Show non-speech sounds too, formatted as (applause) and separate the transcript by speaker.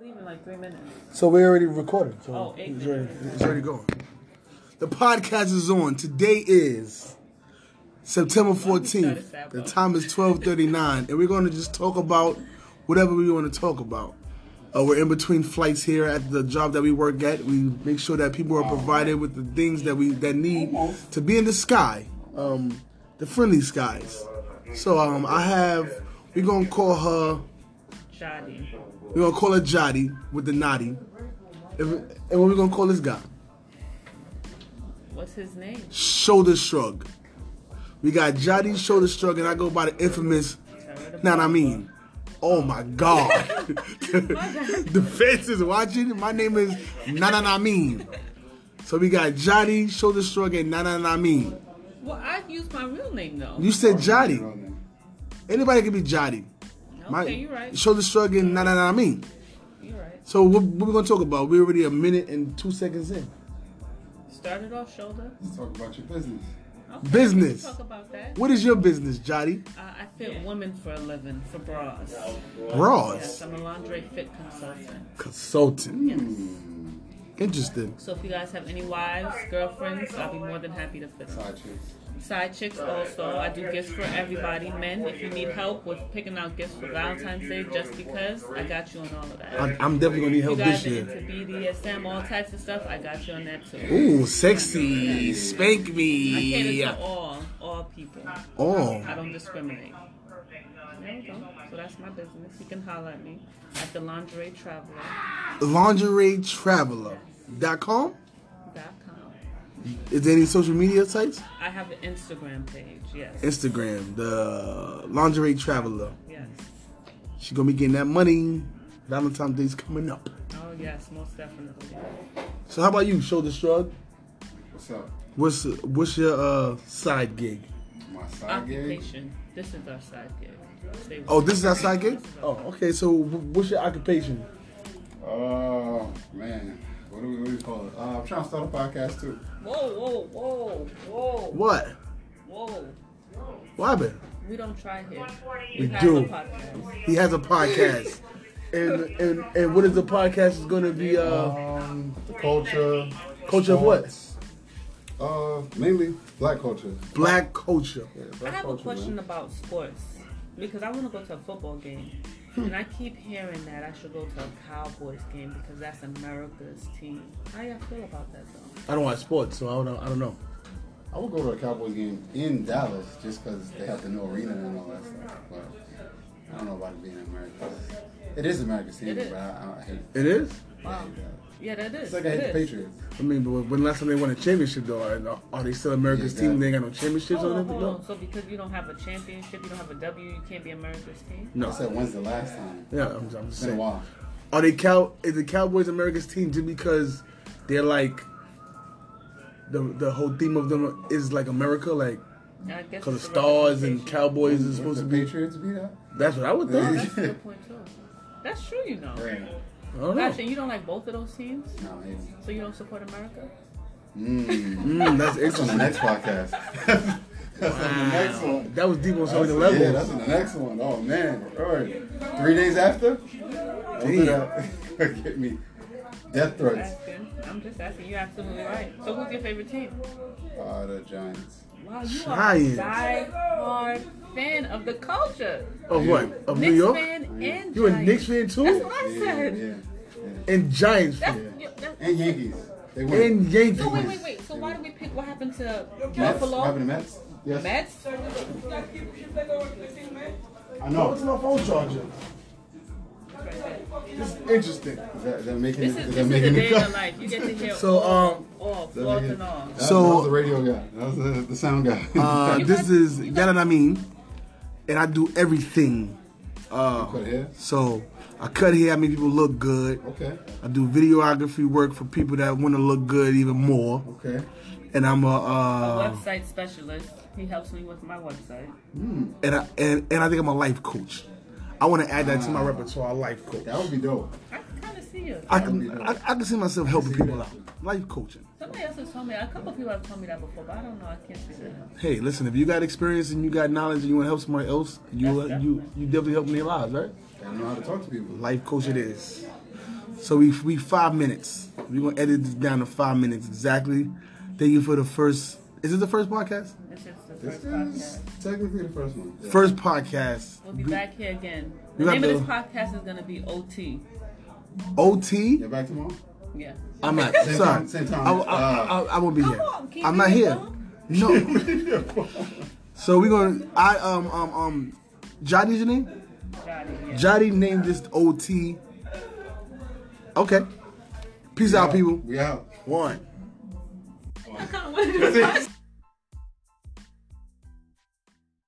Speaker 1: Leave in like three minutes.
Speaker 2: So we already recorded. So
Speaker 1: Oh, eight
Speaker 2: it's, ready, it's ready to go. The podcast is on. Today is September 14th. The time is 12:39 and we're going to just talk about whatever we want to talk about. Uh, we're in between flights here at the job that we work at. We make sure that people are provided with the things that we that need to be in the sky, um, the friendly skies. So um, I have we're gonna call her
Speaker 1: Shadi.
Speaker 2: We're gonna call her Jotty with the naughty. If- and what we gonna call this guy?
Speaker 1: What's his name?
Speaker 2: Shoulder shrug. We got Jotty shoulder shrug, and I go by the infamous. Nah, nah, I mean, oh my god. (laughs) the fence is watching. My name is Nana Namin. So we got Jotty shoulder shrug and Nana Namin.
Speaker 1: Well, I used my real name though.
Speaker 2: You said Jotty. Anybody can be Jotty.
Speaker 1: okay,
Speaker 2: My-
Speaker 1: you're right.
Speaker 2: Shoulder shrug and Nana Namin.
Speaker 1: You're right.
Speaker 2: So what, what we gonna talk about? We're already a minute and two seconds in.
Speaker 1: Started off shoulder.
Speaker 3: Let's talk about your business.
Speaker 1: Okay,
Speaker 2: Business.
Speaker 1: we can Talk about that.
Speaker 2: What is your business, Jotty?
Speaker 1: Uh, I fit women for a living for bras. Yes,
Speaker 2: Bras.
Speaker 1: I'm a lingerie fit consultant.
Speaker 2: Consultant.
Speaker 1: Yes.
Speaker 2: Interesting.
Speaker 1: So if you guys have any wives, girlfriends, I'll be more than happy to fit them.
Speaker 3: Side chicks.
Speaker 1: Side chicks also. I do gifts for everybody. Men, if you need help with picking out gifts for Valentine's Day, just because, I got you on all of that.
Speaker 2: I'm, I'm definitely gonna need
Speaker 1: you
Speaker 2: help
Speaker 1: guys
Speaker 2: this
Speaker 1: are
Speaker 2: year.
Speaker 1: into BDSM, all types of stuff, I got you on that too.
Speaker 2: Ooh, sexy. Spank
Speaker 1: I
Speaker 2: me.
Speaker 1: cater to all, all people.
Speaker 2: Oh,
Speaker 1: I don't discriminate. There you go. So that's my business. You can holler at me at the lingerie traveler.com.
Speaker 2: lingerietraveler.com. Is there any social media sites?
Speaker 1: I have an Instagram page, yes.
Speaker 2: Instagram, the lingerie traveler.
Speaker 1: Yes.
Speaker 2: She gonna be getting that money. Valentine's Day's coming up.
Speaker 1: Oh yes, most definitely.
Speaker 2: So how about you, Shoulder Shrug?
Speaker 3: What's up?
Speaker 2: What's what's your uh, side gig?
Speaker 3: My side gig.
Speaker 1: Occupation. This is our side gig. Stay with
Speaker 2: Oh,
Speaker 1: me.
Speaker 2: this is our side gig. Oh, okay. So wh- what's your occupation?
Speaker 3: Oh man, what do we, what do we call it? Uh, I'm trying to start a podcast too.
Speaker 1: Whoa, whoa, whoa, whoa,
Speaker 2: What?
Speaker 1: whoa.
Speaker 2: What happened?
Speaker 1: We don't try here.
Speaker 2: We
Speaker 1: have
Speaker 2: do.
Speaker 1: a podcast.
Speaker 2: He has a podcast. and, and and what is the podcast is going to be uh
Speaker 3: Um, the culture.
Speaker 2: culture of what?
Speaker 3: Uh, mainly black culture.
Speaker 2: Black culture.
Speaker 3: Yeah,
Speaker 1: I
Speaker 3: black
Speaker 1: have a
Speaker 3: culture,
Speaker 1: question
Speaker 3: man.
Speaker 1: about sports because I want to go to a football game, and I keep hearing that I should go to a Cowboys game because that's America's team. How y'all feel about that though?
Speaker 2: I don't watch sports, so I don't I don't know.
Speaker 3: I would go to a Cowboys game in Dallas just because they have the new arena and all that stuff. But I don't know about it being America. It is America's team,
Speaker 1: It is.
Speaker 3: but I, I hate it.
Speaker 2: It is.
Speaker 1: Wow. Yeah, that is.
Speaker 3: It's like I
Speaker 1: it
Speaker 3: hate the
Speaker 1: is.
Speaker 3: Patriots.
Speaker 2: I mean, but when last time they won a championship though, are, are they still America's
Speaker 3: Yeah,
Speaker 2: team?
Speaker 3: exactly.
Speaker 2: They ain't got no championships
Speaker 1: Hold
Speaker 2: or
Speaker 1: on,
Speaker 2: anything.
Speaker 1: hold
Speaker 2: No.
Speaker 1: on. So because you don't have a championship, you don't have a W, you can't be America's team.
Speaker 3: I
Speaker 2: no.
Speaker 3: said, when's the last time?
Speaker 2: Yeah, I'm, I'm just
Speaker 3: It's been a
Speaker 2: saying.
Speaker 3: while.
Speaker 2: Are they cow? Is the Cowboys America's team just because they're like the the whole theme of them is like America, like
Speaker 1: I guess
Speaker 2: because the
Speaker 1: it's a
Speaker 2: stars and
Speaker 1: representation.
Speaker 2: Cowboys is supposed to
Speaker 3: Would
Speaker 2: be.
Speaker 3: the Patriots be that?
Speaker 2: That's what I would think.
Speaker 1: Oh, that's a good point too. That's true, you know.
Speaker 3: Yeah.
Speaker 2: I don't know.
Speaker 1: Gotcha. You don't like both of those teams,
Speaker 3: No, maybe.
Speaker 1: so you don't support America.
Speaker 3: Mm.
Speaker 2: Mm, that's
Speaker 3: That's on the
Speaker 2: interesting.
Speaker 3: next podcast. that's on the next one.
Speaker 2: That was deep on so many
Speaker 3: That's-
Speaker 2: levels.
Speaker 3: Yeah, that's on the next one. Oh man, Alright. Three days after, Don't do that. (laughs) get me death threats.
Speaker 1: Asking. I'm just asking. You're absolutely right. So who's your favorite team?
Speaker 3: Uh, the Giants.
Speaker 1: Wow, you
Speaker 2: Giants.
Speaker 1: are a diehard fan of the culture.
Speaker 2: of what? Of
Speaker 1: Knicks
Speaker 2: New York?
Speaker 1: fan and
Speaker 2: You a
Speaker 1: Giants.
Speaker 2: Knicks fan
Speaker 1: That's
Speaker 2: too?
Speaker 1: what I
Speaker 3: Yeah,
Speaker 1: said.
Speaker 3: yeah, yeah.
Speaker 2: And Giants
Speaker 1: That's,
Speaker 2: fan.
Speaker 1: yeah, that's-
Speaker 3: And Yankees. They win.
Speaker 2: And Yankees.
Speaker 1: so wait, wait, wait. So why do we pick? What happened to
Speaker 3: Mets.
Speaker 1: Buffalo?
Speaker 3: What happened to Mets? Yes.
Speaker 1: Mets?
Speaker 3: I know.
Speaker 2: What's my phone charger? This is interesting.
Speaker 3: Is that, is that making
Speaker 1: This
Speaker 3: it-
Speaker 1: is
Speaker 3: that
Speaker 1: this is the
Speaker 3: making
Speaker 1: day
Speaker 3: it
Speaker 1: in the
Speaker 3: cut?
Speaker 1: life. You get to hear
Speaker 2: (laughs) So,
Speaker 1: all,
Speaker 2: um,
Speaker 1: all
Speaker 3: That
Speaker 1: flaws
Speaker 3: making-
Speaker 1: and all.
Speaker 3: That,
Speaker 2: So-
Speaker 3: that was the radio guy. That was the, the sound guy. (laughs)
Speaker 2: Uh, this is Yana Namin, and I do everything. Uh,
Speaker 3: Cut here.
Speaker 2: so I cut hair, I make people look good.
Speaker 3: Okay.
Speaker 2: I do videography work for people that want to look good even more.
Speaker 3: Okay.
Speaker 2: And I'm a,
Speaker 1: A
Speaker 2: uh,
Speaker 3: Um,
Speaker 1: website specialist. He helps me with my website.
Speaker 2: and I and, and I think I'm a life coach. I want to add that to my repertoire, life coach.
Speaker 3: Ah. That would be dope.
Speaker 1: I can kind of see you.
Speaker 2: I can I, I can see myself helping people out, life coaching.
Speaker 1: Somebody else has told me. A couple of people have told me that before, but I don't know. I can't see that.
Speaker 2: Hey, listen, if you got experience and you got knowledge and you want to help somebody else, you
Speaker 1: That's
Speaker 2: you you definitely helping their lives, right?
Speaker 3: I know how to talk to people.
Speaker 2: Life coach it is. So we we five minutes. We're gonna edit this down to five minutes exactly. Thank you for the first. Is it the first podcast?
Speaker 1: This is the
Speaker 3: This
Speaker 1: first
Speaker 3: is
Speaker 1: podcast.
Speaker 3: technically the first one. Yeah.
Speaker 2: First podcast.
Speaker 1: We'll be back here again. The
Speaker 2: We got
Speaker 1: name of this
Speaker 2: the-
Speaker 1: podcast is gonna be OT.
Speaker 2: OT.
Speaker 3: You're back tomorrow?
Speaker 1: Yeah.
Speaker 2: I'm not.
Speaker 3: Same
Speaker 2: Sorry.
Speaker 3: time, same
Speaker 2: I,
Speaker 3: time.
Speaker 2: I, I, I won't be
Speaker 1: Come
Speaker 2: here.
Speaker 1: on, keep
Speaker 2: I'm not
Speaker 1: it
Speaker 2: here.
Speaker 1: up.
Speaker 2: No.
Speaker 3: (laughs) That's
Speaker 2: So we're gonna. I um um um. Johnny's your name.
Speaker 1: Jotty, (laughs) yeah.
Speaker 2: Johnny named this OT. Okay. Peace out, people.
Speaker 3: We out.
Speaker 2: One.
Speaker 1: I kinda wanted to-